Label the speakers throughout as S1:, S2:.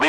S1: De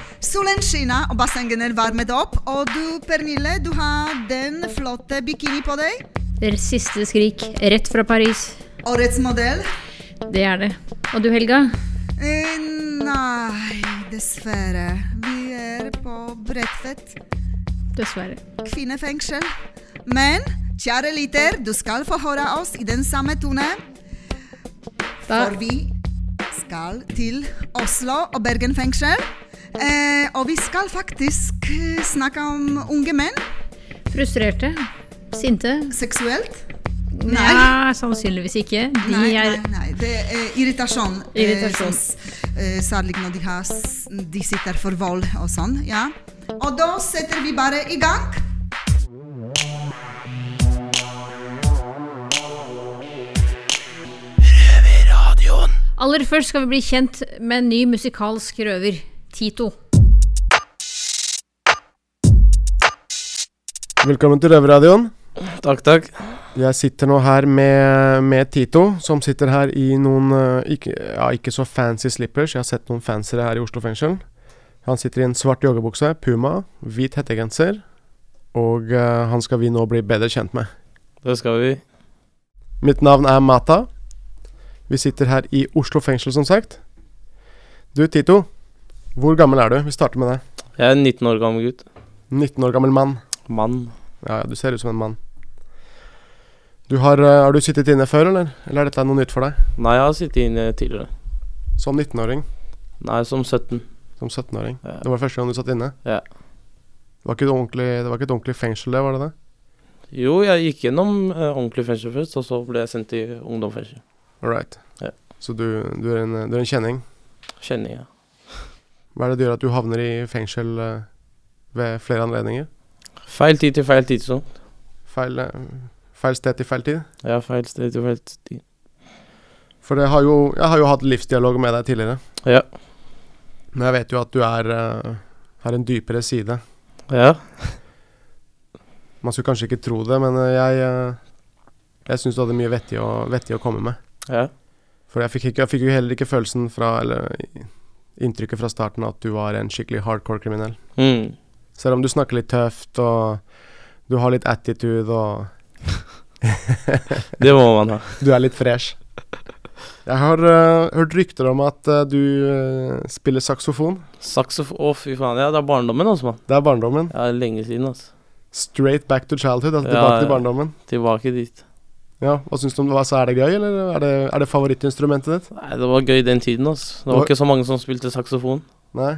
S2: Solen skinner, og bassengene varmet opp. Og du, Pernille, du har den flotte bikini på deg.
S3: Deres Siste skrik, rett fra Paris.
S2: Årets modell.
S3: Det er det. Og du, Helga?
S2: Eh, nei, dessverre. Vi er på Bredtvet
S3: Dessverre.
S2: kvinnefengsel. Men kjære lytter, du skal få høre oss i den samme tone.
S3: Da
S2: For vi skal til Oslo og Bergen fengsel. Eh, og vi skal faktisk eh, snakke om unge menn
S3: frustrerte. Sinte.
S2: seksuelt.
S3: Nei, sannsynligvis ikke. De
S2: Nei,
S3: er
S2: nei, nei. Det er irritasjon.
S3: Irritasjon.
S2: Eh, som, eh, særlig når de, har, s- de sitter for vold og sånn. ja. Og da setter vi bare i gang.
S3: Aller først skal vi bli kjent med en ny musikalsk røver, Tito.
S4: Velkommen til Røverradioen.
S5: Takk, takk.
S4: Jeg sitter nå her med, med Tito, som sitter her i noen eh, ikke, ja, ikke så fancy slippers. Jeg har sett noen fancere her i Oslo fengsel. Han sitter i en svart joggebukse, puma, hvit hettegenser, og eh, han skal vi nå bli bedre kjent med.
S5: Det skal vi.
S4: Mitt navn er Mata. Vi sitter her i Oslo fengsel, som sagt. Du, Tito. Hvor gammel er du? Vi starter med deg.
S5: Jeg er en 19 år gammel gutt.
S4: 19 år gammel mann.
S5: Mann.
S4: Ja, ja, du ser ut som en mann. Du har, eh, har du sittet inne før, eller? Eller er dette noe nytt for deg?
S5: Nei, jeg har sittet inne tidligere.
S4: Som 19-åring?
S5: Nei, som 17.
S4: Som 17-åring?
S5: Ja.
S4: Det var første gang du satt inne?
S5: Ja.
S4: Det var, ikke et ordentlig, det var ikke et ordentlig fengsel, det? var det det?
S5: Jo, jeg gikk gjennom eh, ordentlig fengsel først, og så ble jeg sendt i ungdomsfengsel.
S4: All right.
S5: Ja.
S4: Så du, du, er en, du er en kjenning.
S5: Kjenner jeg.
S4: Hva er det det gjør at du havner i fengsel eh, ved flere anledninger?
S5: Feil tid til feil tidspunkt.
S4: Feil, eh, feil sted til feil tid?
S5: Ja, feil sted til feil tid.
S4: For det har jo, jeg har jo hatt livsdialog med deg tidligere.
S5: Ja.
S4: Men jeg vet jo at du er, eh, har en dypere side.
S5: Ja.
S4: Man skulle kanskje ikke tro det, men eh, jeg, eh, jeg syns du hadde mye vettig å, vettig å komme med.
S5: Ja.
S4: For jeg fikk, ikke, jeg fikk jo heller ikke følelsen fra, eller i- inntrykket fra starten at du var en skikkelig hardcore kriminell.
S5: Mm.
S4: Selv om du snakker litt tøft, og du har litt attitude, og
S5: Det må man ha.
S4: du er litt fresh. Jeg har øh, hørt rykter om at øh, du øh, spiller saksofon.
S5: Saksofon Å, fy faen. Ja, det er barndommen, altså, mann.
S4: Det er barndommen.
S5: Ja, lenge siden, altså.
S4: Straight back to childhood, altså
S5: Ja,
S4: tilbake til
S5: ja.
S4: barndommen.
S5: Tilbake dit.
S4: Ja, Hva syns du om det? Hva, så er det gøy, eller er det, er det favorittinstrumentet ditt?
S5: Nei, det var gøy den tiden, altså. Det var
S4: Hva-
S5: ikke så mange som spilte saksofon.
S4: Nei?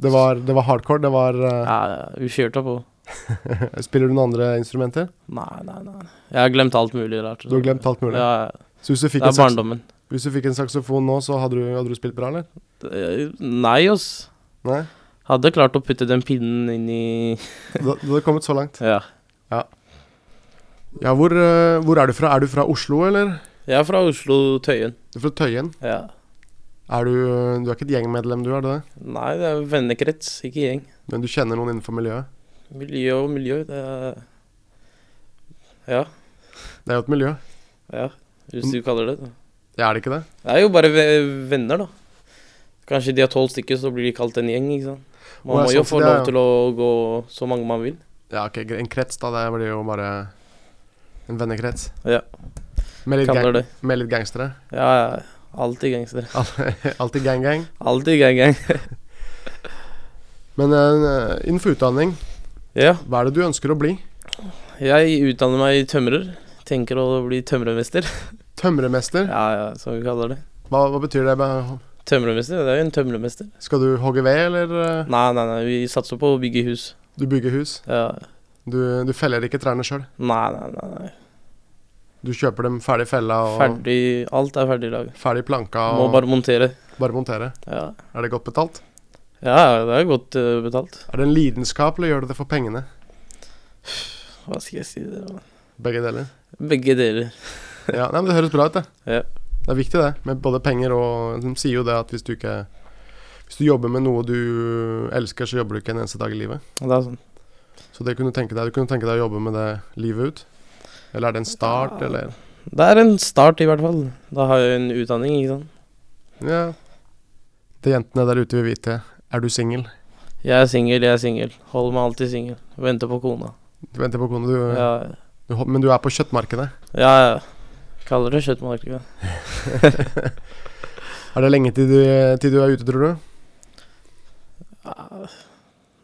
S4: Det var, det var hardcore. Det var øh,
S5: Ja, vi kjørte på.
S4: Spiller du noen andre instrumenter?
S5: Nei, nei, nei. Jeg har glemt alt mulig rart.
S4: Du har glemt alt mulig.
S5: Ja, ja.
S4: Så hvis du fikk
S5: Det
S4: en
S5: er
S4: saks
S5: barndommen.
S4: Hvis du fikk en saksofon nå, så hadde du, hadde du spilt bra, eller?
S5: Eh, Nei, ass.
S4: Nei?
S5: Hadde klart å putte den pinnen inn i
S4: Du, du hadde kommet så langt.
S5: Ja.
S4: Ja, hvor, eh, hvor er du fra? Er du fra Oslo, eller?
S5: Jeg er fra Oslo, Tøyen.
S4: Du er fra Tøyen.
S5: Ja.
S4: Er du, eh, du er ikke et gjengmedlem, du, er du det?
S5: Nei, det er vennekrets, ikke gjeng.
S4: Men du kjenner noen innenfor miljøet?
S5: Miljø og miljø, det er Ja.
S4: Det er jo et miljø.
S5: Ja. Hvis du kaller det det.
S4: Mm. Ja, er det ikke det?
S5: Det er jo bare ve- venner, da. Kanskje de har tolv stykker, så blir de kalt en gjeng, ikke sant. Man
S4: Å, ja,
S5: må jo
S4: sånn, så
S5: få
S4: det er jo-
S5: lov til å gå så mange man vil.
S4: Ja, ok, gre- en krets, da. Det blir jo bare en vennekrets.
S5: Ja.
S4: Med litt,
S5: Kaller
S4: gang,
S5: det.
S4: med litt gangstere.
S5: Ja, ja. Alltid gangstere.
S4: Al- Alltid gang-gang.
S5: Alltid gang-gang.
S4: Men eh, innenfor utdanning,
S5: Ja.
S4: hva er det du ønsker å bli?
S5: Jeg utdanner meg tømrer. Tenker å bli tømrermester.
S4: Tømremester?
S5: Ja, ja, som vi kaller det.
S4: Hva, hva betyr det? Hva-
S5: Tømrermester, det er jo en tømrermester.
S4: Skal du hogge ved, eller eh,
S5: Nei, nei, nei, vi satser på å bygge hus.
S4: du bygger hus?
S5: Ja.
S4: Du, du feller ikke trærne sjøl?
S5: Nei, nei, nei. nei.
S4: Du kjøper dem ferdig fella og ferdig,
S5: Ferdig Alt er ferdig i dag.
S4: planka
S5: Må
S4: og bare,
S5: bare montere.
S4: montere.
S5: Ja,
S4: Er det godt betalt?
S5: ja ja, det er godt eh, betalt.
S4: Er det en lidenskap, eller gjør du det for pengene?
S5: Hva skal jeg si? der, da?
S4: Begge deler.
S5: Begge deler.
S4: Ja, nei, men Det høres bra ut, det.
S5: Ja.
S4: Det er viktig, det. Med både penger og De sier jo det at hvis du ikke Hvis du jobber med noe du elsker, så jobber du ikke en eneste dag i livet.
S5: Og Det er sånn.
S4: Så det kunne du tenke deg. Du kunne tenke deg å jobbe med det livet ut. Eller er det en start, eller
S5: Det er en start, i hvert fall. Da har jeg jo en utdanning, ikke sant.
S4: Ja. Det jentene der ute vil vite. Er du singel?
S5: Jeg er singel, jeg er singel. Holder meg alltid singel. Venter på kona.
S4: Du venter på kona, du.
S5: Ja,
S4: du hop- Men du er på kjøttmarkedet.
S5: ja. ja. Kaller det kjøttmarked.
S4: Er det lenge til du, til du er ute, tror du?
S5: Ja.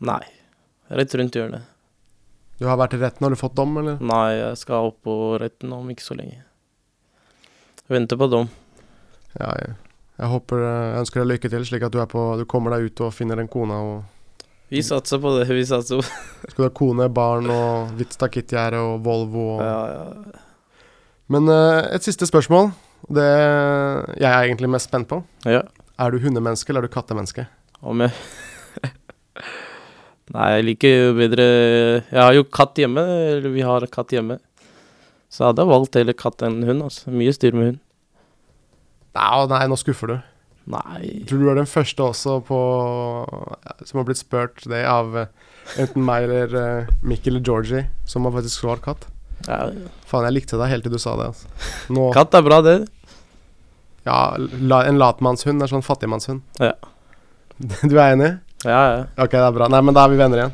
S5: Nei. Rett rundt hjørnet.
S4: Du har vært i retten, har du fått dom, eller?
S5: Nei, jeg skal opp på retten om ikke så lenge. Venter på dom.
S4: Ja, jeg, jeg håper eh, Jeg ønsker deg lykke til, slik at du, er på, du kommer deg ut og finner en kone og Mm.
S5: Vi satser på det. Vi satser på
S4: Skal du ha kone, barn og hvitt stakittgjerde og Volvo og
S5: ja, ja.
S4: Men eh, et siste spørsmål. Det jeg er egentlig mest spent på.
S5: ja.
S4: Er du hundemenneske eller er du kattemenneske?
S5: Om jeg Nei, jeg liker jo bedre Jeg har jo katt hjemme, eller vi har katt hjemme. Så jeg hadde jeg valgt heller katt enn hund. altså. Mye styr med hund.
S4: Nei, å nei, nå skuffer du.
S5: Nei
S4: Jeg tror du er den første også på som har blitt spurt det av eh, enten meg eller eh, Mikkel eller Georgie, som har faktisk svart katt.
S5: ja,
S4: Faen, jeg likte deg helt til du sa det. Altså. Nå,
S5: Katt er bra, det.
S4: ja, la, en latmannshund er sånn fattigmannshund.
S5: Ja.
S4: Du er enig?
S5: Ja, ja.
S4: Ok, det er bra. Nei, men da er vi venner igjen.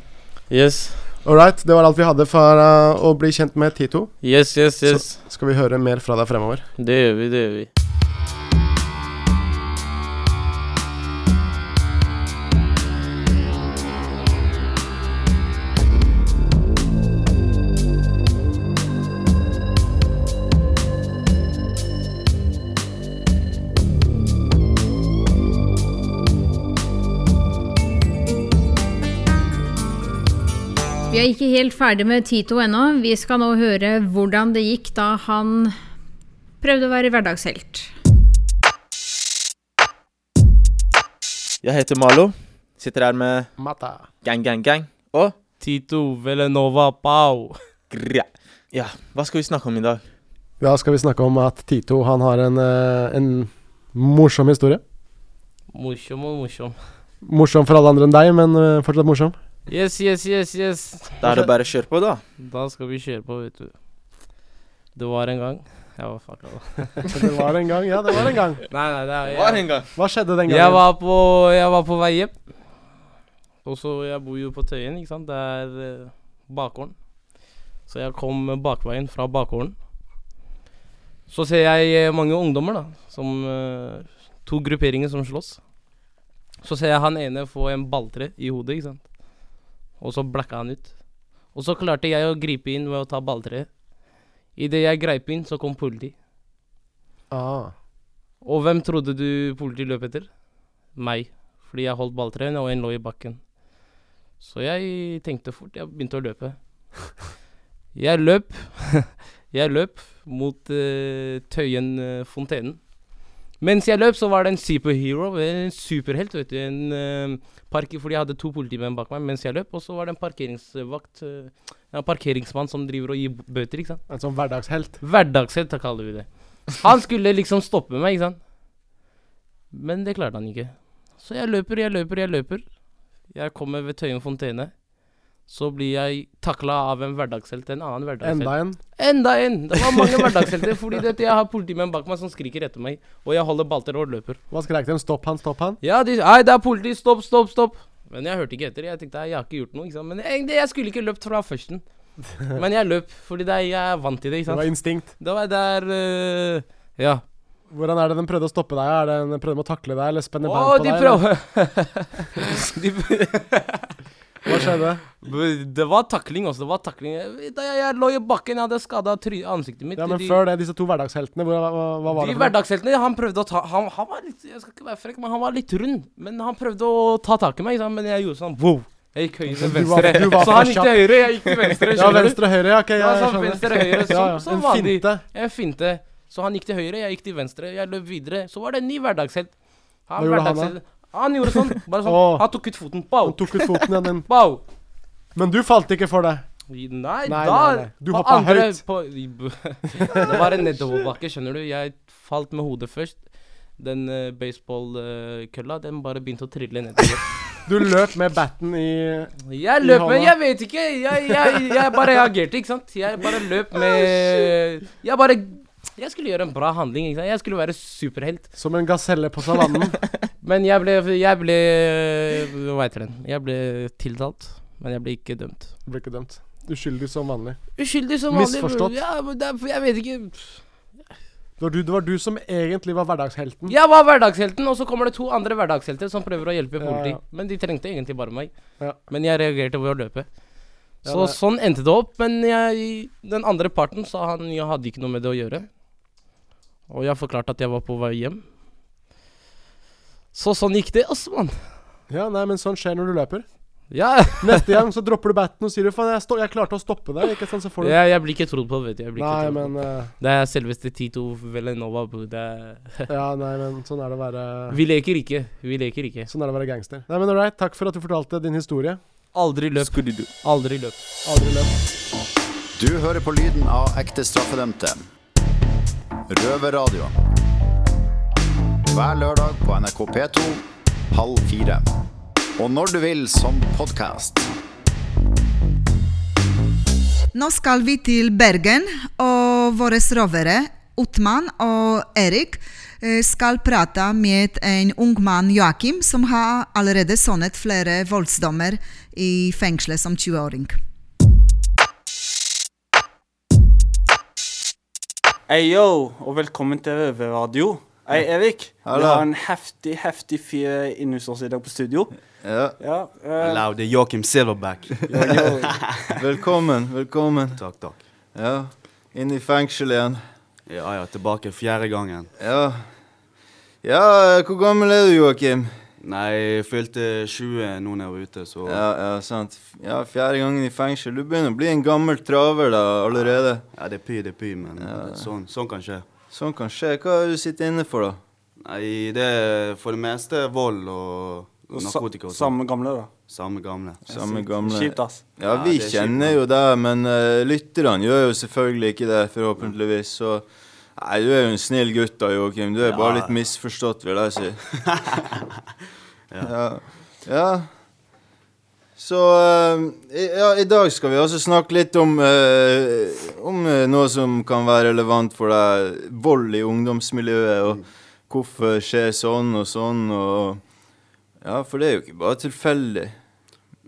S5: Yes,
S4: All right, det var alt vi hadde for eh, å bli kjent med Tito.
S5: yes, yes. yes.
S4: Skal vi høre mer fra deg fremover.
S5: Det gjør vi, det gjør vi.
S3: Vi er ikke helt ferdig med Tito ennå. Vi skal nå høre hvordan det gikk da han prøvde å være hverdagshelt.
S6: Jeg heter Malo. Sitter her med Gang Gang Gang og
S5: Tito Velenova Pau.
S6: Grja. Ja, hva skal vi snakke om i dag?
S4: Da skal vi snakke om at Tito han har en, eh, en morsom historie.
S5: Morsom og morsom.
S4: Morsom for alle andre enn deg, men eh, fortsatt morsom.
S5: Yes, yes, yes, yes.
S6: Da er det bare å kjøre på, da.
S5: Da skal vi kjøre på, vet du. Det var en gang. Jeg var fucka. da.
S4: Det var en gang, ja, det var en gang.
S5: Nei, nei, det er
S6: Var en gang.
S4: Hva skjedde den gangen?
S5: Jeg var på, jeg var på vei hjem. Og så Jeg bor jo på Tøyen, ikke sant. Det er eh, bakgården. Så jeg kom bakveien fra bakgården. Så ser jeg eh, mange ungdommer, da. Som eh, To grupperinger som slåss. Så ser jeg han ene få en balltre i hodet, ikke sant. Og så blacka han ut. Og så klarte jeg å gripe inn ved å ta balltreet. Idet jeg greip inn, så kom politiet.
S4: ah,
S5: Og hvem trodde du politiet løp etter? Meg. Fordi jeg holdt balltreen, og en lå i bakken. Så jeg tenkte fort. Jeg begynte å løpe. Jeg løp. Jeg løp mot eh, Tøyen eh, fontenen. Mens jeg løp, så var det en superhero, en superhelt, vet du. En eh, park, fordi jeg hadde to politimenn bak meg mens jeg løp. Og så var det en parkeringsvakt, eh, en parkeringsmann som driver og gir b- bøter, ikke sant.
S4: en sånn hverdagshelt.
S5: Hverdagshelt, da kaller vi det. Han skulle liksom stoppe meg, ikke sant? Men det klarte han ikke. Så jeg løper, jeg løper, jeg løper. Jeg kommer ved Tøyen fontene. Så blir jeg takla av en hverdagshelt, en annen hverdagshelt.
S4: Enda en.
S5: Enda en! Det var mange hverdagshelter. fordi du vet, jeg har politimenn bak meg som skriker etter meg. Og jeg holder balter og løper.
S4: Hva skrek de? Stopp han, stopp han.
S5: Ja, de, nei, det er politi, stopp, stopp, stopp. Men jeg hørte ikke etter. Jeg tenkte jeg har ikke gjort noe. ikke sant? Men jeg, jeg skulle ikke løpt fra førsten. Men jeg løp, fordi det er, jeg er vant til det. ikke
S4: Det
S5: sant?
S4: var instinkt.
S5: Da var jeg der eh, Ja.
S4: Hvordan er det de prøvde å stoppe deg? Er det de prøvde med å takle deg eller spenne
S5: Å,
S4: bein på
S5: de
S4: deg? eller?
S5: prøver de,
S4: Hva skjedde?
S5: prøv- Det var takling også. Det var takling. Jeg, jeg, jeg lå i bakken, jeg hadde skada ansiktet mitt.
S4: Ja, men
S5: de,
S4: før det, disse to hverdagsheltene, hva, hva, hva var
S5: de
S4: det for noe?
S5: hverdagsheltene, han prøvde å ta han, han var litt Jeg skal ikke være frekk, men han var litt rund. Men han prøvde å ta tak i meg, ikke sant? men jeg gjorde sånn wow. Jeg gikk høyre,
S4: Du var-
S5: venstre.
S4: du var
S5: så
S4: for
S5: han gikk til
S4: kjapp.
S5: høyre, jeg gikk til venstre.
S4: Ja,
S5: skjønner du?
S4: venstre og høyre, ja, ok, ja,
S5: Ja,
S4: jeg
S5: sånn
S4: skjønner.
S5: venstre og høyre,
S4: Ja,
S5: som,
S4: ja.
S5: som
S4: En
S5: vanlig.
S4: finte.
S5: En finte. Så han gikk til høyre, jeg gikk til venstre, jeg løp videre. Så var det en ny hverdagshelt.
S4: Hva gjorde han da?
S5: hverdagshelt- Han gjorde sånn. bare sånn,
S4: Åh.
S5: Han tok ut foten. Pow!
S4: Han tok ut foten igjen din.
S5: Pow!
S4: Men du falt ikke for det.
S5: Nei, nei,
S4: nei,
S5: da
S4: nei. Du
S5: på
S4: hoppet
S5: andre
S4: høyt.
S5: På, det var en nedoverbakke, skjønner du. Jeg falt med hodet først. Den eh, baseballkølla, den bare begynte å trille nedover.
S4: Du løp med batten i
S5: Jeg
S4: I
S5: løp med
S4: hånda.
S5: Jeg vet ikke. Jeg, jeg, jeg bare reagerte, ikke sant. Jeg bare
S4: Ah,
S5: løp med Jeg bare Jeg skulle gjøre en bra handling. ikke sant? Jeg skulle være superhelt.
S4: som en gaselle på savannen.
S5: Men jeg ble Jeg ble Hva heter den? Jeg ble tiltalt, men jeg ble ikke dømt.
S4: Ble ikke dømt. Uskyldig som vanlig.
S5: Uskyldig som vanlig.
S4: Misforstått.
S5: Ja, men det er, for jeg vet ikke
S4: Det var du, det var du som egentlig var hverdagshelten.
S5: Jeg var hverdagshelten, og så kommer det to andre hverdagshelter som prøver å hjelpe
S4: Ja,
S5: politi.
S4: ja.
S5: Men de trengte egentlig bare meg.
S4: Ja.
S5: Men jeg reagerte ved å løpe.
S4: Ja,
S5: Så
S4: det-
S5: sånn endte det opp. Men jeg, den andre parten sa han jeg hadde ikke noe med det å gjøre. Og jeg forklarte at jeg var på vei hjem. Så sånn gikk det, ass, mann.
S4: Ja, nei, men sånn skjer når du løper.
S5: Ja.
S4: Neste gang så dropper du batten og sier du faen, jeg, sto- jeg klarte å stoppe deg. Ikke sant, så får du
S5: Jeg, jeg blir ikke trodd på, vet du. Jeg blir
S4: Nei,
S5: ikke trodd på.
S4: men eh,
S5: Det er selveste Tito Velenova. bro. Det er
S4: Ja, nei, men sånn er det å være
S5: Vi leker ikke. Vi leker ikke.
S4: Sånn er det å være gangster. Nei, men all right, takk for at du fortalte din historie.
S5: Aldri løp.
S6: Skudidu.
S5: Aldri løp.
S4: Aldri løp.
S7: Du hører på lyden av ekte straffedømte. Røverradio. Hver lørdag på NRK P2 halv fire. Og når du vil som podkast.
S2: Nå skal vi til Bergen, og våre rovere, Utman og Erik, eh, skal prate med en ung mann, Joakim, som har allerede sonet flere voldsdommer i fengselet som 20-åring.
S8: Hey yo, og velkommen til Røverradio. Hei, Erik. Vi
S7: Hallo.
S8: har en heftig, heftig fyr inne hos oss i dag på studio.
S9: Ja,
S8: Ja, eh,
S10: Hello, det er Joakim Silverback.
S9: velkommen, velkommen.
S10: takk, takk.
S9: Ja, inn i fengsel igjen.
S10: Ja ja, tilbake fjerde gangen.
S9: Ja. Ja, eh, hvor gammel er du, Joakim?
S10: Nei, jeg fylte 20 nå når jeg var ute, så ja.
S9: Ja, ja, sant. Ja, fjerde gangen i fengsel. Du begynner å bli en gammel traver da, allerede.
S10: det er py, det er py, men sånn, sånn kan skje.
S9: Sånn kan skje. Hva er det du sitter inne for, da?
S10: Nei, det er for det meste vold og
S8: og sa-
S10: narkotika og sånn.
S8: Samme gamle, da.
S10: Samme gamle.
S9: Samme gamle
S8: Kjipt, ass.
S9: Ja,
S10: Ja,
S9: vi
S10: det er kjipt,
S9: kjenner
S10: da.
S9: jo deg, men eh, lytterne gjør jo selvfølgelig ikke det, forhåpentligvis. Så Nei, du er jo en snill gutt da, Joakim. Du er bare litt misforstått, vil jeg si. ja. ja. Så eh, i- ja, i dag skal vi altså snakke litt om, eh, om eh, noe som kan være relevant for deg. Vold i ungdomsmiljøet,
S10: Mm.
S9: og hvorfor skjer sånn og sånn, og Ja, for det er jo ikke bare tilfeldig.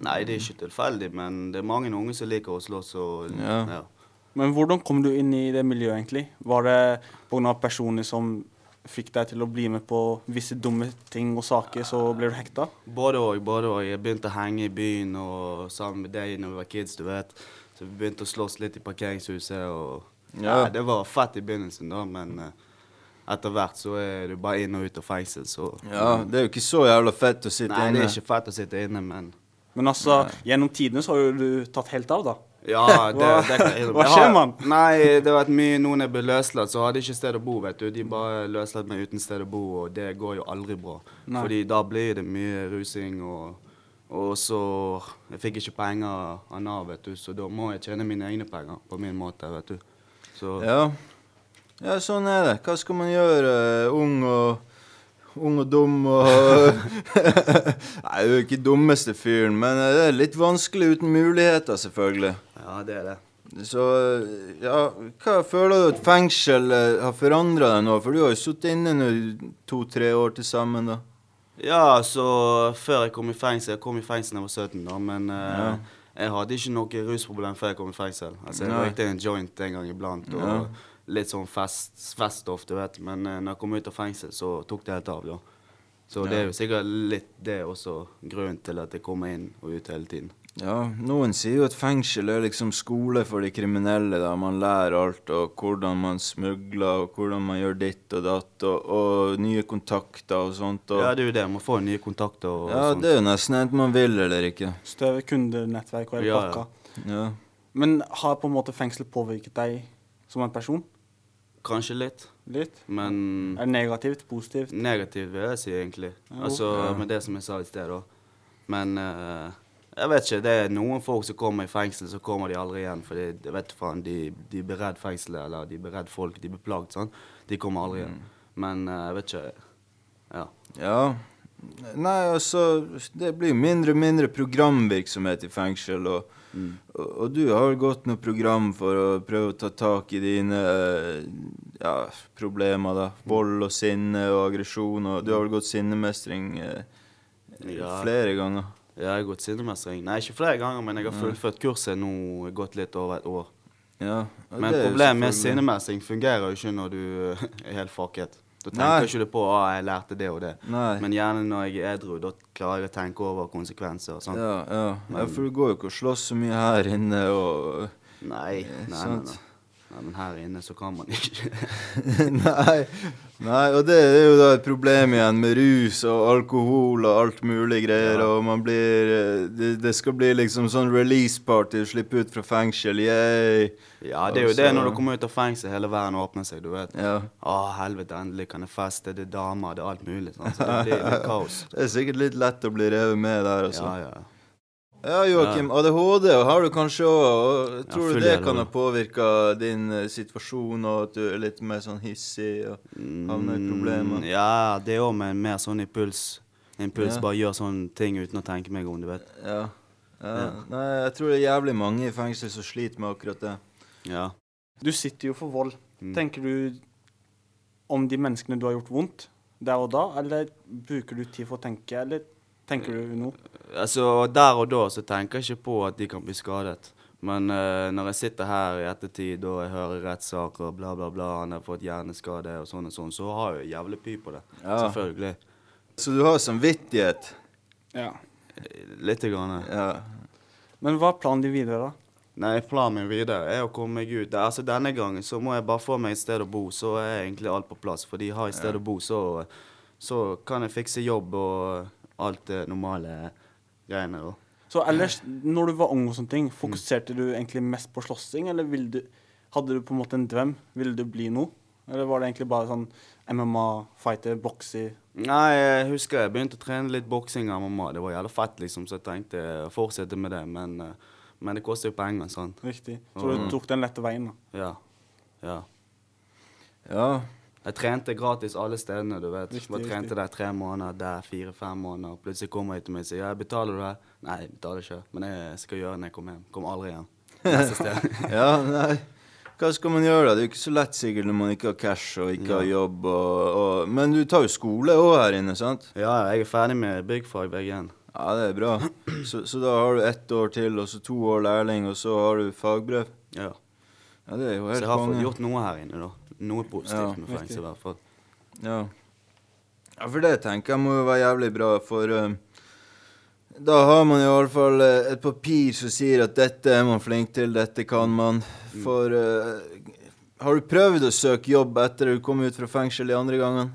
S10: Nei, det er ikke tilfeldig, men det er mange unge som liker å slåss og ja.
S9: Ja.
S8: Men hvordan kom du inn i det miljøet, egentlig? Var det pga. personer som fikk deg til å bli med på visse dumme ting og saker, så ble du hekta?
S10: Både òg, både òg. Jeg begynte å henge i byen og sammen med deg når vi var kids, du vet. Så vi begynte å slåss litt i parkeringshuset og
S9: Ja.
S10: ja. Det var fett i begynnelsen, da, men eh, etter hvert så er du bare inn og ut av fengsel, så
S9: Ja, det er jo ikke så jævla fett å sitte
S10: Nei, det
S9: inne.
S10: er ikke fett å sitte inne, men
S8: Men altså, gjennom tidene så har jo du tatt helt av, da.
S10: ja, det,
S8: Hva-
S10: det kan jeg innrømme.
S8: hva
S10: Jeg har-
S8: skjer, mann?
S10: Nei, det har vært mye Noen jeg ble løslatt, så hadde jeg ikke sted å bo, vet du. De bare løslatt meg uten sted å bo, og det går jo aldri bra. Fordi da blir det mye rusing og og så Jeg fikk ikke penger av Nav, vet du, så da må jeg tjene mine egne penger på min måte, vet du. Så
S9: Ja. ja, sånn er det. Hva skal man gjøre? eh, Ung og Ung og dum og Nei, du er ikke dummeste fyren, men eh, det er litt vanskelig uten muligheter, selvfølgelig.
S10: ja, det er det.
S9: Så eh, ja, hva føler du at fengsel eh, har forandra deg nå? For du har jo sittet inne nå to-tre år til sammen, da.
S10: Ja, så før jeg kom i fengsel Jeg kom i fengsel da jeg var 17, da, men eh, jeg hadde ikke noe rusproblem før jeg kom i fengsel. Altså, Jeg
S9: Nei.
S10: røykte en joint en gang iblant, og litt sånn fest, feststoff, du vet. Men eh, når jeg kom ut av fengsel, så tok det helt av, da. Så det er jo sikkert litt det er også grunnen til at jeg kommer inn og ut hele tiden.
S9: Ja, noen sier jo at fengsel er liksom skole for de kriminelle, da. Man lærer alt, og hvordan man smugler, og hvordan man gjør ditt og datt, og, og nye kontakter og sånt. Og,
S10: Ja, det er jo det. Man får nye kontakter og
S9: ja,
S10: sånt.
S9: det er jo nesten enten man vil eller ikke.
S8: Større kundenettverk og hele
S10: Ja, ja.
S8: pakka.
S9: Ja.
S8: Men har på en måte fengselet påvirket deg som en person?
S10: Kanskje litt,
S8: Litt?
S10: men
S8: Er det negativt? Positivt?
S10: Negativt vil jeg si, egentlig. Altså, Med det som jeg sa i sted, da. Men eh, Jeg vet ikke, det er noen folk som kommer i fengsel, så kommer de aldri igjen. For det- jeg vet faen, de, de blir redd fengselet, eller de blir redd folk, de blir plagt, sånn. De kommer aldri igjen.
S8: Mm.
S10: Men eh, jeg vet ikke, ja.
S9: Ja. Nei, altså Det blir jo mindre og mindre programvirksomhet i fengsel. Og,
S10: Mm.
S9: og, og du har vel gått noe program for å prøve å ta tak i dine eh, ja, problemer, da.
S10: Mm.
S9: Vold og sinne og aggresjon. Og du har vel gått sinnemestring eh,
S10: Ja.
S9: flere ganger.
S10: Ja, jeg har gått sinnemestring. Nei, ikke flere ganger, men jeg har
S9: Nei.
S10: fullført kurset nå gått litt over et år.
S9: Ja, og
S10: men
S9: det er jo
S10: problemet med
S9: selvfølgelig-
S10: sinnemestring fungerer jo ikke når du eh, er helt fucket. Da
S9: Nei.
S10: tenker ikke du på at ah, jeg lærte det og det.
S9: Nei.
S10: Men gjerne når jeg er edru, da klarer jeg å tenke over konsekvenser og sånn.
S9: Ja, ja. ja,
S10: Men-
S9: for du går jo ikke og slåss så mye her inne og
S10: Nei,
S9: eh,
S10: nei, nei,
S9: sant?
S10: nei. nei, men her inne så kan man ikke.
S9: Nei. Nei, og det er jo da et problem igjen med rus og alkohol og alt mulig greier. Og man blir eh, det, det skal bli liksom sånn release party, slippe ut fra fengsel, yeah.
S10: Ja, det er jo det når du kommer ut av fengsel, hele verden åpner seg, du vet.
S9: Ja.
S10: Å, helvete, endelig kan jeg feste, det er damer, det er alt mulig. Sånn. Så det blir litt kaos.
S9: Det er sikkert litt lett å bli revet med der, altså.
S10: Ja, ja.
S9: Ja, Joakim. ADHD har du kanskje òg.
S10: Ja,
S9: Tror
S10: full
S9: du det kan ha
S10: ADHD.
S9: påvirka din eh, situasjon, og at du er litt mer sånn hissig og havner i problemer?
S10: Mm, Ja, det òg, men mer sånn impuls. Impuls
S9: Ja.
S10: bare gjør sånne ting uten å tenke meg om, du vet.
S9: Ja. ja.
S10: Mm. Ja.
S9: Nei, jeg tror det er jævlig mange i fengsel som sliter med akkurat det.
S10: Ja.
S8: Du sitter jo for vold.
S10: Mm.
S8: Tenker du om de menneskene du har gjort vondt der og da, eller bruker du tid for å tenke, eller tenker du noe?
S10: Altså, der og da så tenker jeg ikke på at de kan bli skadet. Men eh, når jeg sitter her i ettertid og jeg hører rettssaker og bla, bla, bla, han har fått hjerneskade og sånn og sånn, så har jeg jævlig py på det.
S9: Ja.
S10: Selvfølgelig.
S9: Så du har samvittighet?
S8: Ja.
S10: Lite grann.
S9: Ja.
S8: Men hva er planen din videre, da?
S10: Nei, planen min videre er å komme meg ut. Altså, denne gangen så må jeg bare få meg et sted å bo, så er egentlig alt på plass. Fordi har jeg et sted å bo, så, så kan jeg fikse jobb og alt det normale greiene. da.
S8: Så ellers, når du var ung og sånne ting, fokuserte du egentlig mest på slåssing, eller ville du, hadde du på en måte en drøm? Ville du bli noe? Eller var det egentlig bare sånn MMA-fighter, bokser?
S10: Nei, jeg husker jeg begynte å trene litt boksing av mamma. Det var jævla fett, liksom, så jeg tenkte å fortsette med det. Men, eh, men det koster jo penger, sant.
S8: Riktig. Så du
S10: Mhm.
S8: tok den lette veien, da.
S10: Ja. ja.
S9: Ja.
S10: Jeg trente gratis alle stedene, du vet.
S8: Riktig,
S10: Bare
S8: riktig.
S10: trente der tre måneder, der fire-fem måneder. Plutselig kommer jeg til meg og sier ja, 'betaler du det?' Nei, jeg betaler ikke. Men jeg skal gjøre det når jeg kommer hjem. Kommer aldri hjem. Neste sted.
S9: ja, nei. Hva skal man gjøre, da? Det er jo ikke så lett sikkert når man ikke har cash og ikke har jobb. Og, og, men du tar jo skole òg her inne, sant?
S10: ja, jeg er ferdig med byggfag VG1.
S9: Ja, det er bra. Så, så da har du ett år til, og så to år lærling, og så har du fagbrev.
S10: Ja.
S9: Ja, det er jo
S10: Så
S9: helt
S10: jeg har fått
S9: konge.
S10: gjort noe her inne, da. Noe
S9: Ja,
S10: positivt med fengsel, i hvert fall.
S9: Ja. ja, for det tenker jeg må jo være jævlig bra, for eh, da har man i alle fall eh, et papir som sier at dette er man flink til, dette kan man.
S10: Mm.
S9: For eh, har du prøvd å søke jobb etter du kom ut fra fengsel de andre gangen?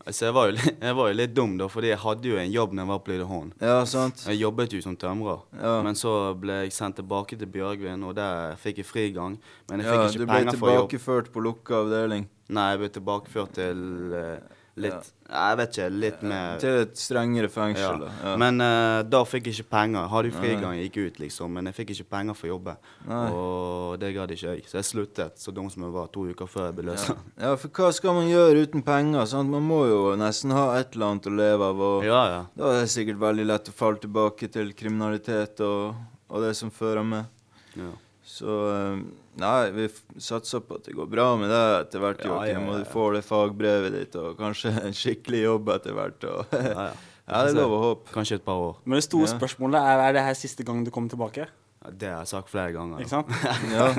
S10: Altså, jeg var, jo litt, jeg var jo litt dum, da, fordi jeg hadde jo en jobb når jeg var på Lyderhånd.
S9: Ja, sant?
S10: Jeg jobbet jo som tømrer,
S9: Ja.
S10: men så ble jeg sendt tilbake til Bjørgvin, og der fikk jeg frigang. Men jeg
S9: Ja,
S10: fikk
S9: du
S10: ikke
S9: ble
S10: penger for jobb.
S9: tilbakeført på lukka avdeling.
S10: Nei, jeg ble tilbakeført til eh, litt Nei, Jeg vet ikke, litt mer
S9: Til et strengere
S10: ja.
S9: fengsel. da. Ja.
S10: Men eh, da fikk jeg ikke penger. Jeg hadde jo frigang, jeg gikk ut, liksom, men jeg fikk ikke penger for å jobbe.
S9: Nei.
S10: Og det gadd ikke jeg, så jeg sluttet så dum som jeg var to uker før jeg ble løst.
S9: ja, for hva skal man gjøre uten penger? Sant? Man må jo nesten ha et eller annet å leve av. Og,
S10: Ja, ja.
S9: Da er det sikkert veldig lett å falle tilbake til kriminalitet og, og det som fører med.
S10: ja.
S9: Så eh, nei, vi f- satser på at det går bra med deg etter hvert,
S10: Ja, ja,
S9: Joakim.
S10: ja,
S9: Og
S10: ja.
S9: du får det fagbrevet ditt og kanskje en skikkelig jobb etter hvert. Og
S10: ja,
S9: ja,
S10: ja.
S9: det er lov å håpe.
S10: Kanskje et par år.
S8: Men det store
S9: Ja.
S8: spørsmålet er er det her siste gangen du kommer tilbake.
S10: Ja, Det har jeg sagt flere ganger.
S8: Ikke sant?
S9: Ja.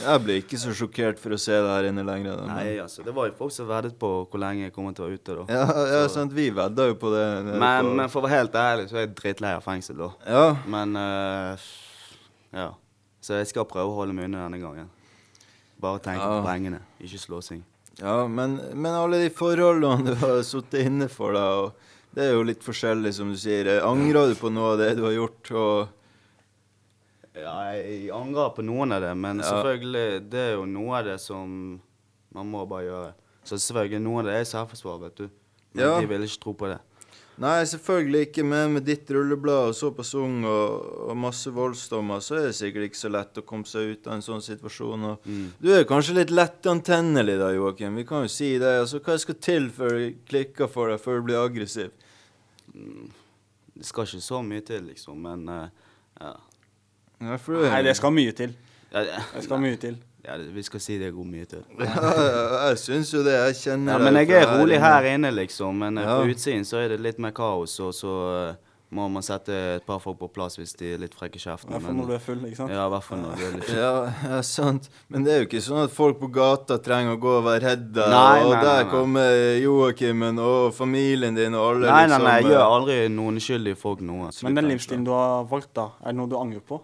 S9: Jeg blir ikke så sjokkert for å se det her inne lenger. Da. men-
S10: Nei, altså, det var jo folk som veddet på hvor lenge jeg kommer til å være ute, da.
S9: Ja, ja sant, vi vedda jo på det. nede
S10: Men,
S9: på-
S10: men for å være helt ærlig, så er jeg drittlei av fengsel, da.
S9: ja.
S10: Men eh, ja. Så jeg skal prøve å holde meg unna denne gangen. Bare tenke
S9: Ja.
S10: på pengene, ikke slåsing.
S9: Ja, men, men alle de forholdene du har sittet inne for, da, og det er jo litt forskjellig, som du sier. Eh, Angrer du på noe av det du har gjort? Og,
S10: Ja, jeg angrer på noen av det, men
S9: Ja.
S10: selvfølgelig, det er jo noe av det som man må bare gjøre. Så selvfølgelig, noen av det er selvforsvar, vet du. Men
S9: Ja.
S10: de vil ikke tro på det.
S9: Nei, selvfølgelig ikke, men med ditt rulleblad og såpass ung og, og masse voldsdommer, så er det sikkert ikke så lett å komme seg ut av en sånn situasjon. Og
S11: Mm.
S9: Du er kanskje litt lettantennelig da, Joakim. Vi kan jo si det. Altså, hva skal til før det klikker for deg, før du blir aggressiv?
S10: Mm, Det skal ikke så mye til, liksom, men eh, ja.
S8: Nei, det skal mye til.
S10: Ja, det,
S8: Det skal mye til.
S10: ja, det- vi skal si det går mye til.
S9: Ja, jeg syns jo det. Jeg kjenner
S10: Ja, men
S9: deg
S10: jeg er
S9: fra
S10: rolig
S9: inne.
S10: her inne, liksom. Men eh,
S9: Ja.
S10: på utsiden så er det litt mer kaos, og så eh, må man sette et par folk på plass hvis de er litt frekke i kjeften.
S8: I hvert fall
S10: men-
S8: når du er full, ikke sant?
S10: Ja, i hvert fall når du er litt full.
S9: Ja, ja, sant. Men det er jo ikke sånn at folk på gata trenger å gå og være redda.
S10: Nei,
S9: og
S10: nei, nei,
S9: der
S10: nei.
S9: kommer Joakimen og familien din og alle,
S10: Nei, nei, nei, jeg
S9: liksom.
S10: gjør aldri noen uskyldige folk noe. altså,
S8: Men den livsstilen du har valgt, da, er det noe du angrer på?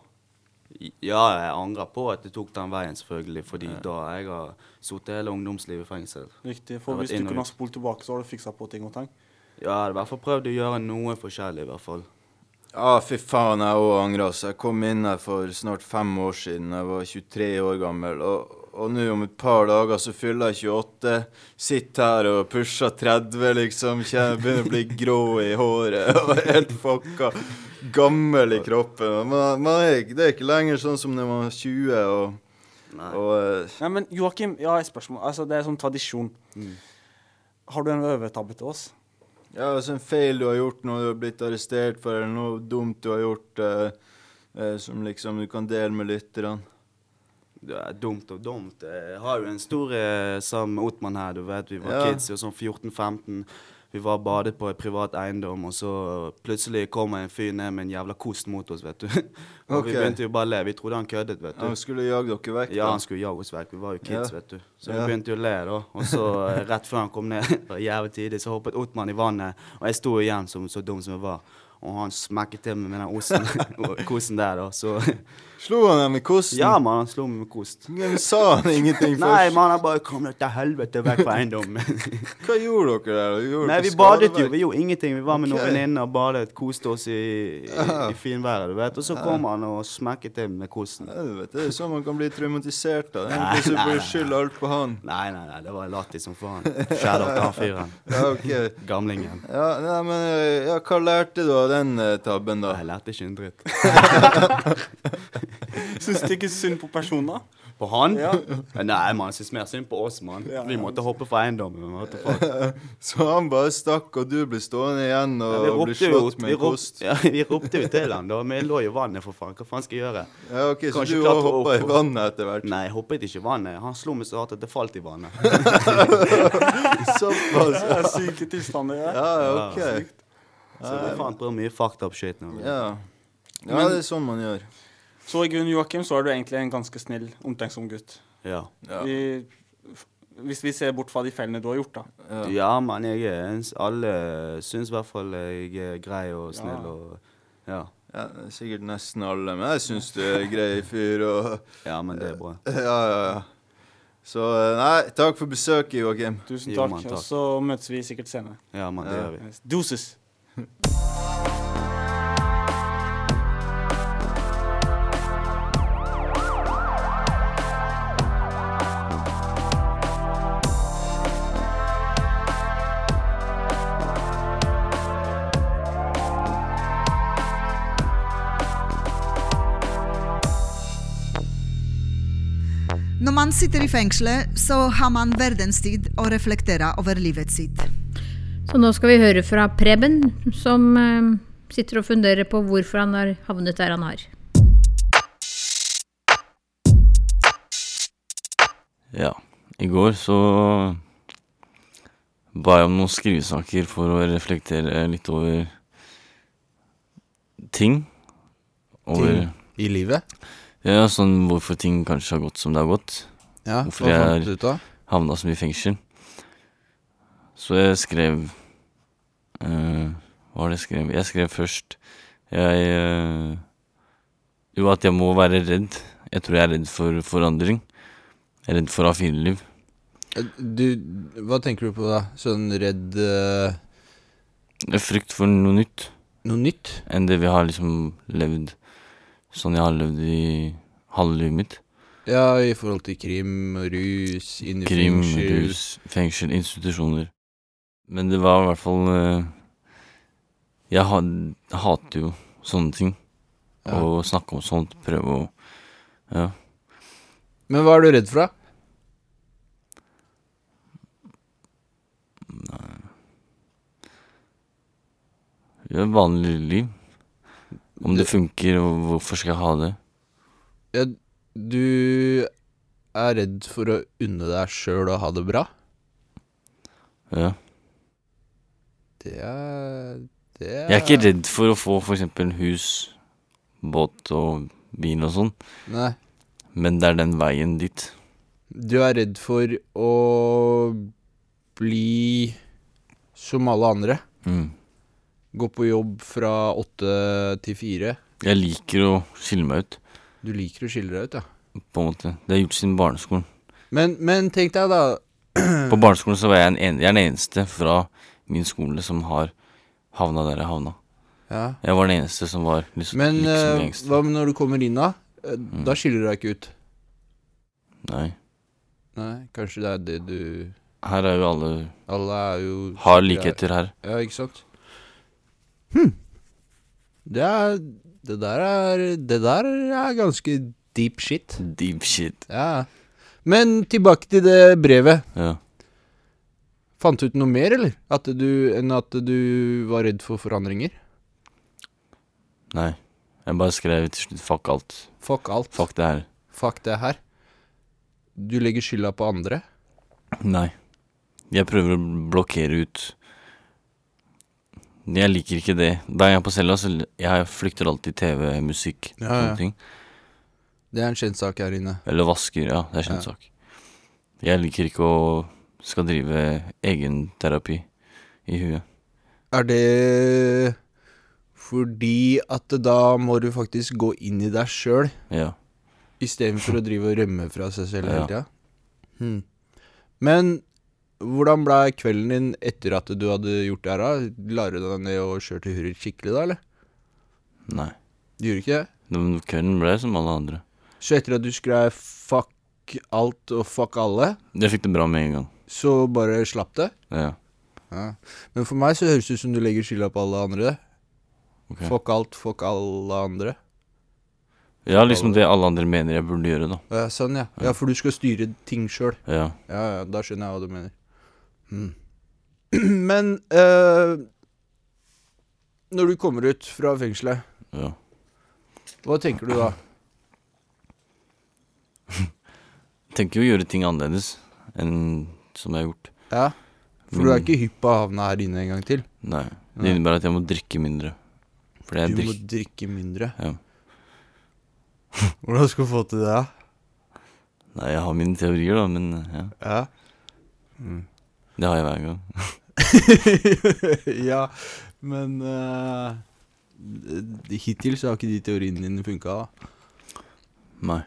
S10: Ja, jeg angrer på at det tok den veien, selvfølgelig, fordi da jeg har sittet hele ungdomslivet i fengsel.
S8: Riktig,
S10: Jeg
S8: for
S10: har vært
S8: Hvis du
S10: inn og
S8: kunne ha
S10: ut.
S8: spolt tilbake, så har du fiksa på ting og tang.
S10: Ja, jeg hadde i hvert fall prøvd å gjøre noe forskjellig, i hvert fall.
S9: Ja, fy faen, jeg òg angrer. Altså. Jeg kom inn her for snart fem år siden. Jeg var 23 år gammel. Og, og nå om et par dager så fyller jeg 28. Sitter her og pusher 30, liksom. Kjenner jeg begynner å bli grå i håret og er helt fucka. Gammel i kroppen. Man, man er, ikke- det er ikke lenger sånn som når man var 20 og, og eh,
S8: Nei, men Joakim, jeg har et spørsmål. Altså, det er sånn tradisjon. Har du en øvetabbe til oss?
S9: Ja, altså en feil du har gjort, noe du har blitt arrestert for, eller noe dumt du har gjort eh, eh, som liksom du kan dele med lytterne.
S10: Det er dumt og dumt. Jeg har jo en stor eh, sammen med Ottmann her. Du vet, vi var
S9: Ja.
S10: kids, jo sånn 14-15. Vi var og badet på en privat eiendom, og så plutselig kommer en fyr ned med en jævla kost mot oss, vet du. og
S9: Ok.
S10: vi begynte jo bare å le. Vi trodde han køddet, vet
S9: Han
S10: du.
S9: skulle jage dere vekk.
S10: Ja,
S9: da.
S10: han skulle jage oss vekk. Vi var jo kids,
S9: Ja.
S10: vet du. Så
S9: Ja.
S10: vi begynte jo å le, da. Og så eh, rett før han kom ned, det var jævlig tidlig, så hoppet Ottmann i vannet. Og jeg sto igjen som så dum som jeg var. Og han smekket til meg med den osten, og kosen der, da. Så
S9: Slo han deg med kosten?
S10: ja, mann, han slo meg med kost.
S9: Men sa han ingenting først?
S10: Nei, man har bare kommet til helvete vekk fra eiendommen.
S9: Hva gjorde dere der? da? Gjorde
S10: Nei,
S9: dere
S10: vi badet jo.
S9: skadevekk?
S10: Vi gjorde ingenting. Vi var med noen
S9: Ok.
S10: venninner og badet, koste oss i, i, i finværet, du vet. Og så kom han og smekket til med kosten.
S9: Ja, du vet, det er sånn man kan bli traumatisert av. Egentlig så bør du skylde alt på han.
S10: Nei, nei, nei, det var lattis som faen. Shadow til han fyren.
S9: Ja, ok.
S10: Gamlingen.
S9: Ja, nei, men eh, ja, hva lærte du av den eh, tabben, da?
S10: Jeg lærte ikke en dritt.
S8: Syns du ikke synd på personen, da?
S10: På han? Nei, man syns mer synd på oss, mann. Vi måtte hoppe fra eiendommen. men what the fuck.
S9: Så han bare stakk, og du ble stående igjen
S10: Ja,
S9: og
S10: vi
S9: ble
S10: ropte jo
S9: slått med
S10: vi
S9: en kost?
S10: ropte, ja, vi ropte jo til han, da. Vi lå jo i vannet, for faen. Hva faen skal jeg gjøre?
S9: Ja, ok, Så
S10: Kanskje
S9: du
S10: klatre
S9: òg hoppa
S10: opp
S9: i
S10: og-
S9: vannet etter hvert?
S10: Nei, jeg hoppet ikke i vannet. Han slo meg så hardt at det falt i vannet.
S9: Såpass?
S8: Det er syke tilstander. Ja.
S9: Ja, ok.
S10: Så vi fant på mye fucked up shit nå.
S9: Ja. ja,
S8: Men-
S9: det er sånn man gjør.
S8: Så i grunnen, Joakim, så er du egentlig en ganske snill, omtenksom gutt.
S10: Ja.
S9: Ja.
S8: Vi, hvis vi ser bort fra de feilene du har gjort, da.
S10: ja. men jeg er en s- Alle syns i hvert fall jeg er grei og snill og Ja.
S9: Ja, det er sikkert nesten alle, men jeg syns du er grei fyr og
S10: Ja, men det er bra.
S9: Ja, ja, ja. Så eh, nei, takk for besøket, Joakim.
S8: Tusen
S10: Jo,
S8: takk.
S10: mann,
S8: altså.
S10: takk.
S8: Og så møtes vi sikkert senere.
S10: Ja, men det gjør vi.
S8: Doses.
S2: Når man sitter i fengselet, så har man verdenstid å reflektere over livet sitt.
S3: Så nå skal vi høre fra Preben, som eh, sitter og funderer på hvorfor han har havnet der han har.
S12: Ja, i går så ba jeg om noen skrivesaker for å reflektere litt over ting. Over
S11: i livet?
S12: Ja, sånn hvorfor ting kanskje har gått som det har gått.
S11: Ja,
S12: hvorfor
S11: hva fant du
S12: jeg
S11: ut av?
S12: havna så mye i fengsel. Så jeg skrev eh, Hva var det jeg skrev? Jeg skrev først jeg eh, Jo, at jeg må være redd. Jeg tror jeg er redd for forandring. Jeg er redd for A4-liv.
S11: Eh, Du, hva tenker du på da? Sånn redd eh,
S12: Det er Frykt for noe nytt.
S11: Noe nytt?
S12: Enn det vi har liksom levd sånn jeg har levd i halve livet mitt.
S11: Ja, i forhold til krim, rus, inn i
S12: Krim,
S11: fengsel.
S12: rus, fengsel, institusjoner. Men det var i hvert fall eh, Jeg ha, hater jo sånne ting. Å snakke om sånt, prøve å Ja.
S11: Men hva er du redd for, da?
S12: Det er et vanlig liv. Om det funker, og hvorfor skal jeg ha det?
S11: Ja, du er redd for å unne deg sjøl å ha det bra?
S12: Ja.
S11: Det er Det
S12: Jeg er ikke redd for å få f.eks. hus, båt og bil og sånn.
S11: Nei.
S12: Men det er den veien dit.
S11: Du er redd for å bli som alle andre.
S12: Mm.
S11: Gå på jobb fra åtte til fire.
S12: Jeg liker å skille meg ut,
S11: Du liker å skille deg ut, ja.
S12: på en måte. Det har jeg gjort siden barneskolen.
S11: Men, men tenk deg, da
S12: På barneskolen så var jeg, en en, jeg er den eneste fra min skole som har havna der jeg havna.
S11: Ja.
S12: Jeg var den eneste som var liksom,
S11: Men
S12: liksom Mm.
S11: eh,
S12: gangster.
S11: hva med når du kommer inn, da? Eh, Da skiller du deg ikke ut.
S12: Nei.
S11: Nei, kanskje det er det du
S12: Her er jo alle
S11: Alle er jo
S12: Har likheter her.
S11: Ja, ikke sant? Hm. Det er Det der er Det der er ganske deep shit.
S12: Deep shit.
S11: Ja. Men tilbake til det brevet.
S12: Ja.
S11: Fant du ut noe mer, eller? At du, enn at du var redd for forandringer?
S12: Nei. Jeg bare skrev til slutt fuck alt.
S11: Fuck alt.
S12: Fuck det her.
S11: Fuck det her. Du legger skylda på andre.
S12: Nei. Jeg prøver å blokkere ut Jeg liker ikke det. Da jeg er på cella, så l- jeg flykter alltid TV, musikk,
S11: Ja,
S12: sånne
S11: ja.
S12: ting.
S11: Det er en kjent sak her inne.
S12: Eller vasker, ja. Det er kjent
S11: Ja.
S12: sak. Jeg liker ikke å skal drive egenterapi i huet.
S11: Er det fordi at da må du faktisk gå inn i deg sjøl,
S12: Ja.
S11: istedenfor å drive og rømme fra seg selv hele
S12: Ja.
S11: tida? Hmm. Men hvordan ble kvelden din etter at du hadde gjort det her? da? La du deg ned og kjørte hurra skikkelig da, eller?
S12: Nei.
S11: Du gjorde ikke det?
S12: Men Kvelden ble som alle andre.
S11: Så etter at du skrev 'fuck alt' og 'fuck alle',
S12: Jeg fikk det bra med en gang.
S11: så bare slapp det?
S12: Ja.
S11: Ja. Men for meg så høres det ut som du legger skylda på alle andre.
S12: Ok.
S11: Fuck alt, fuck alle andre.
S12: Ja, liksom det alle andre mener jeg burde gjøre, da.
S11: Ja, sånn, ja. ja. For du skal styre ting sjøl.
S12: Ja.
S11: ja, ja, da skjønner jeg hva du mener. Hmm. Men eh, når du kommer ut fra fengselet,
S12: Ja.
S11: hva tenker du da?
S12: Tenker jo å gjøre ting annerledes enn som jeg har gjort.
S11: Ja, For du er
S12: Men-
S11: ikke hypp på å havne her inne en gang til?
S12: Mm. Nei. Det
S11: Nei.
S12: innebærer at jeg må drikke mindre. Fordi jeg
S11: Du må
S12: drikker
S11: drikke mindre.
S12: ja.
S11: Hvordan skal du få til det? da?
S12: Nei, jeg har mine teorier, da, men ja. Mm.
S11: Ja.
S12: Det har jeg hver gang.
S11: ja, men eh, d- Hittil så har ikke de teoriene dine funka. da.
S12: Nei.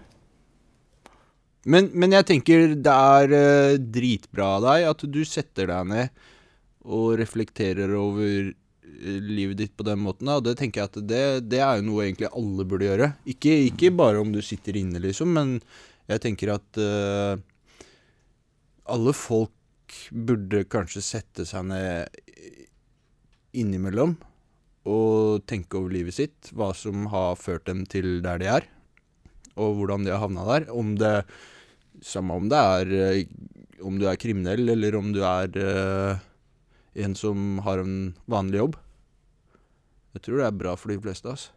S11: Men, men jeg tenker det er eh, dritbra av deg at du setter deg ned og reflekterer over eh, livet ditt på den måten. Da. Og det tenker jeg at det, det er jo noe egentlig alle burde gjøre. Ikke, ikke bare om du sitter inne, liksom, men jeg tenker at eh, alle folk burde kanskje sette seg ned innimellom og tenke over livet sitt, hva som har ført dem til der de er, og hvordan de har havna der. Om det Samme om det er eh, Om du er kriminell, eller om du er eh, en som har en vanlig jobb. Jeg tror det er bra for de fleste, altså.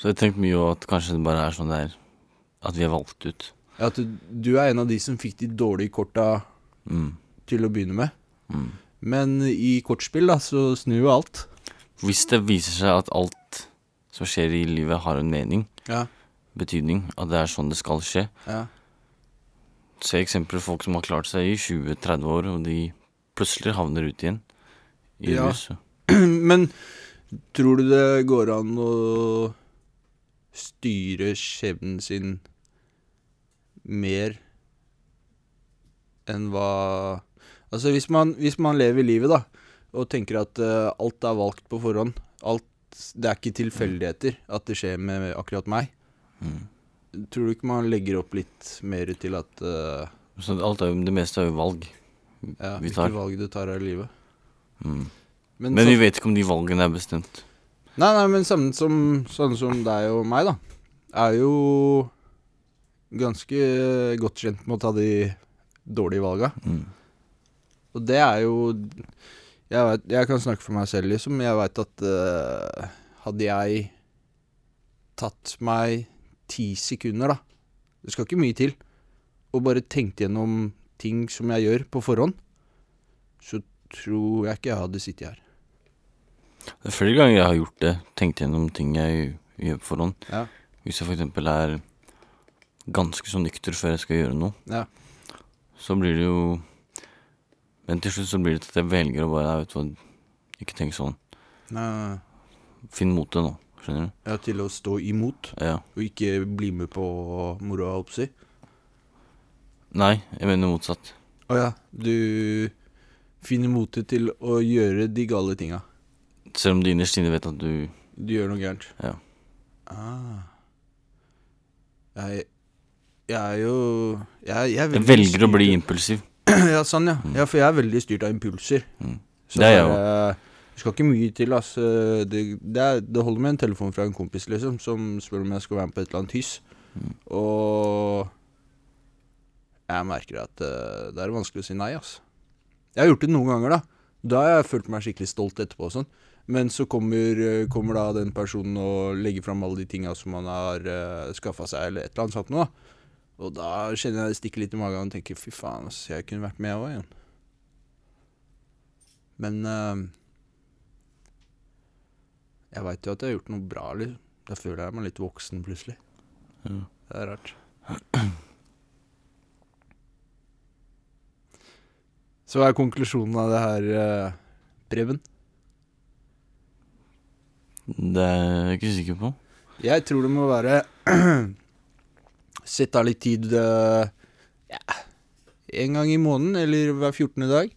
S12: Så jeg har tenkt mye på at kanskje det bare er sånn det er. At vi er valgt ut.
S11: At du, du er en av de som fikk de dårlige korta
S12: Mm.
S11: til å begynne med.
S12: Mm.
S11: Men i kortspill, da, så snur jo alt.
S12: Hvis det viser seg at alt som skjer i livet, har en mening,
S11: Ja.
S12: betydning, at det er sånn det skal skje
S11: Ja.
S12: Se eksempler folk som har klart seg i 20-30 år, og de plutselig havner ut igjen i
S11: Ja.
S12: ruset.
S11: Men tror du det går an å styre skjebnen sin mer enn hva Altså, hvis man, hvis man lever livet, da, og tenker at eh, alt er valgt på forhånd alt, Det er ikke tilfeldigheter at det skjer med akkurat meg.
S12: Mm.
S11: Tror du ikke man legger opp litt mer til at eh,
S12: Så alt er jo, det meste er jo valg
S11: ja,
S12: vi
S11: Hvilke
S12: tar.
S11: valg du tar her i livet?
S12: Mm. Men,
S11: Men
S12: vi
S11: så-
S12: vet ikke om de valgene er bestemt.
S11: Nei, nei, men sånne som, sånne som deg og meg, da, er jo ganske godt kjent med å ta de dårlige valga. Og det er jo jeg, vet, jeg kan snakke for meg selv, liksom. Jeg veit at eh, hadde jeg tatt meg ti sekunder, da Det skal ikke mye til. Og bare tenkt gjennom ting som jeg gjør, på forhånd, så tror jeg ikke jeg hadde sittet her.
S12: Det er flere ganger jeg har gjort det. Tenkt gjennom ting jeg gjør på forhånd.
S11: Ja.
S12: Hvis jeg f.eks. er ganske så nykter før jeg skal gjøre noe,
S11: Ja.
S12: så blir det jo Men til slutt så blir det at jeg velger å bare «Nei, vet du hva, ikke tenk sånn.
S11: Nei.
S12: Finn motet nå. Skjønner du?
S11: Ja, til å stå imot
S12: Ja.
S11: og ikke bli med på moroa, holdt på å si.
S12: Nei, jeg mener motsatt.
S11: Å ja, du finner motet til å gjøre de gale tinga.
S12: Selv om du innerst inne vet at du
S11: Du gjør noe gærent.
S12: Ja.
S11: Ah. Jeg, jeg er jo Jeg, jeg, er
S12: Jeg
S11: veldig
S12: velger å
S11: styrt-
S12: bli Mm. impulsiv.
S11: ja, sånn, ja. ja. For jeg er veldig styrt av impulser.
S12: Det er jeg
S11: bare- Det skal ikke mye til, ass. Eh, Det, det, er, det holder med en telefon fra en kompis, liksom, som spør om jeg skal være med på et eller annet hyss.
S12: Mm.
S11: Og jeg merker at eh, det er vanskelig å si nei, ass. Jeg har gjort det noen ganger, da. Da har jeg følt meg skikkelig stolt etterpå og sånn. Men så kommer, eh, kommer da den personen og legger fram alle de tinga som han har uh, skaffa seg, eller et eller annet sånt noe, da. Og da kjenner jeg det stikker litt i magen og tenker fy faen, ass, jeg kunne vært med òg igjen. Men eh, jeg veit jo at jeg har gjort noe bra, liksom. Da føler jeg meg litt voksen plutselig.
S12: Ja.
S11: Det er rart. Så hva er konklusjonen av det her, eh, Preben?
S12: Det er jeg ikke sikker på.
S11: Jeg tror det må være Sett av litt tid eh, ja, En gang i måneden Eller hver 14. dag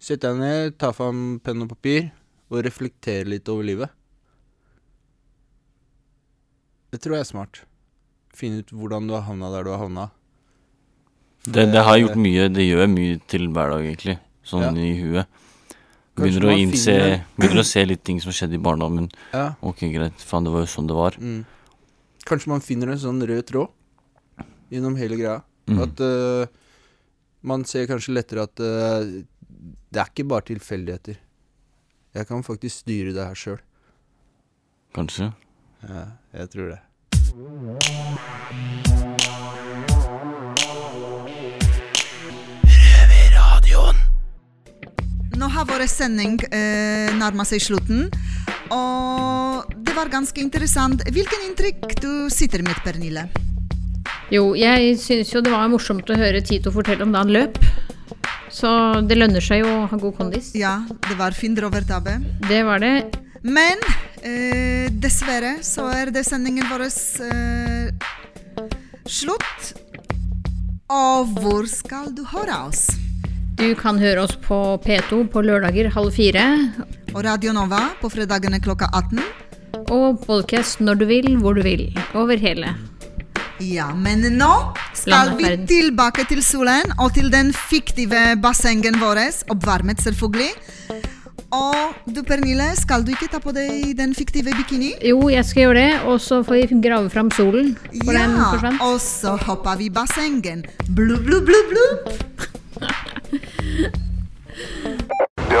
S11: Sett deg ned, ta fram penn og papir Og reflektere litt over livet Det tror jeg er smart Finne ut hvordan du har havnet der du har havnet
S12: Det, det har gjort mye, det gjør mye til hver dag, egentlig. Sånn
S11: Ja.
S12: i huet.
S11: Kanskje
S12: Begynner å,
S11: man
S12: innse,
S11: finner-
S12: begynner å se litt ting som skjedde i barndommen.
S11: Ja.
S12: Ok, greit. Faen, det var jo sånn det var.
S11: Mm. Kanskje man finner en sånn rød tråd gjennom hele greia.
S12: Mm.
S11: At eh, man ser kanskje lettere at eh, det er ikke bare tilfeldigheter. Jeg kan faktisk styre det her sjøl.
S12: Kanskje.
S11: Ja, jeg tror det.
S2: Nå har vår sending eh, nærmet seg slutten, og det var ganske interessant. Hvilken inntrykk du sitter med, Pernille?
S3: Jo, jeg syns jo det var morsomt å høre Tito fortelle om da han løp. Så det lønner seg jo å ha god kondis.
S2: Ja, det var fin drovertabbe.
S3: Det var det.
S2: Men eh, dessverre så er det sendingen vår eh, slutt. Og hvor skal du høre oss?
S3: Du kan høre oss på P2 på lørdager halv fire.
S2: Og Radio Nova på fredagene klokka 18.
S3: Og podcast når du vil, hvor du vil. Over hele.
S2: Ja, men nå skal
S3: Landet
S2: vi
S3: verden.
S2: tilbake til solen og til den fiktive bassengen vår, oppvarmet selvfølgelig. Og du, Pernille, skal du ikke ta på deg den fiktive bikini?
S3: Jo, jeg skal gjøre det, og så får vi grave fram solen. For den
S2: Ja,
S3: forsvant.
S2: og så hopper vi i bassengen. Blubb, blubb, blubb, blubb.
S1: Det